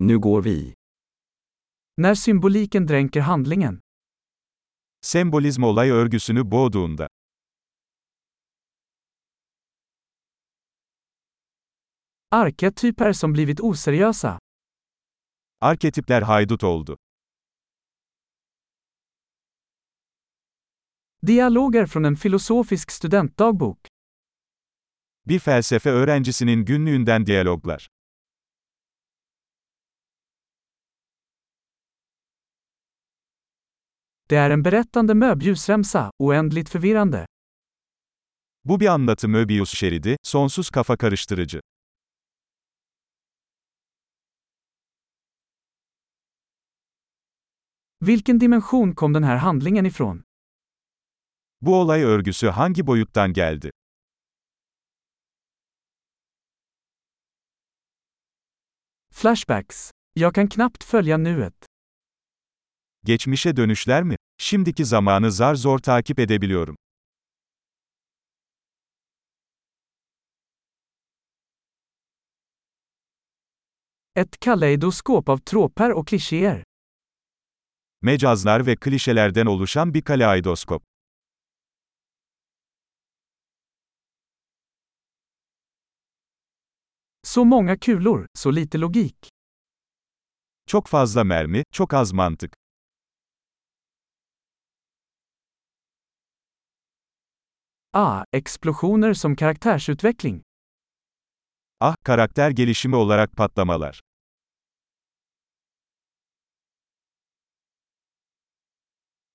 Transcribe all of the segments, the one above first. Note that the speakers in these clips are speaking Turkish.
Nu går vi. När symboliken dränker handlingen. Sembolizm olay örgüsünü boğduğunda. Arketyper som blivit oseriösa. Arketipler haydut oldu. Dialoger från en filosofisk studentdagbok. Bir felsefe öğrencisinin günlüğünden diyaloglar. Det är en berättande möbljusremsa, oändligt förvirrande. Bu bir anlatı Möbius şeridi, sonsuz kafa karıştırıcı. Vilken dimension kom den här handlingen ifrån? Bu olay örgüsü hangi boyuttan geldi? Flashbacks. Jag kan knappt följa nuet. Geçmişe dönüşler mi? Şimdiki zamanı zar zor takip edebiliyorum. Ett kaleidoskop av tråpar och klichéer. Mecazlar ve klişelerden oluşan bir kaleidoskop. Så många kulor, så lite logik. Çok fazla mermi, çok az mantık. Ah, explosioner som karaktärsutveckling. Ah, karakter gelişimi olarak patlamalar.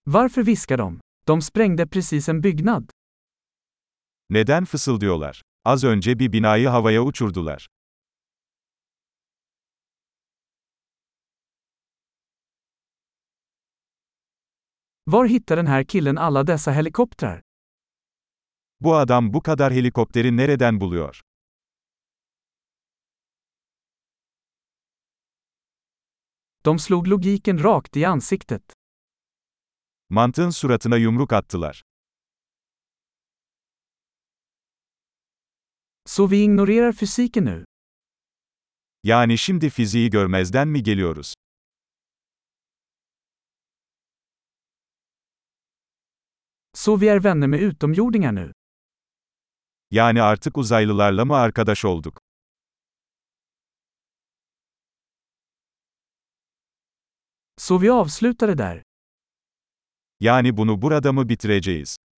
Varför viskar de? De sprängde precis en byggnad. Neden fısıldıyorlar? Az önce bir binayı havaya uçurdular. Var hittar den här killen alla dessa helikoptrar? Bu adam bu kadar helikopteri nereden buluyor? De slog logiken rakt i ansiktet. Mantığın suratına yumruk attılar. Så vi ignorerar fysiken nu. Yani şimdi fiziği görmezden mi geliyoruz? Så vi är vänner med utomjordingar nu. Yani artık uzaylılarla mı arkadaş olduk? Så vi avslutar det där. Yani bunu burada mı bitireceğiz?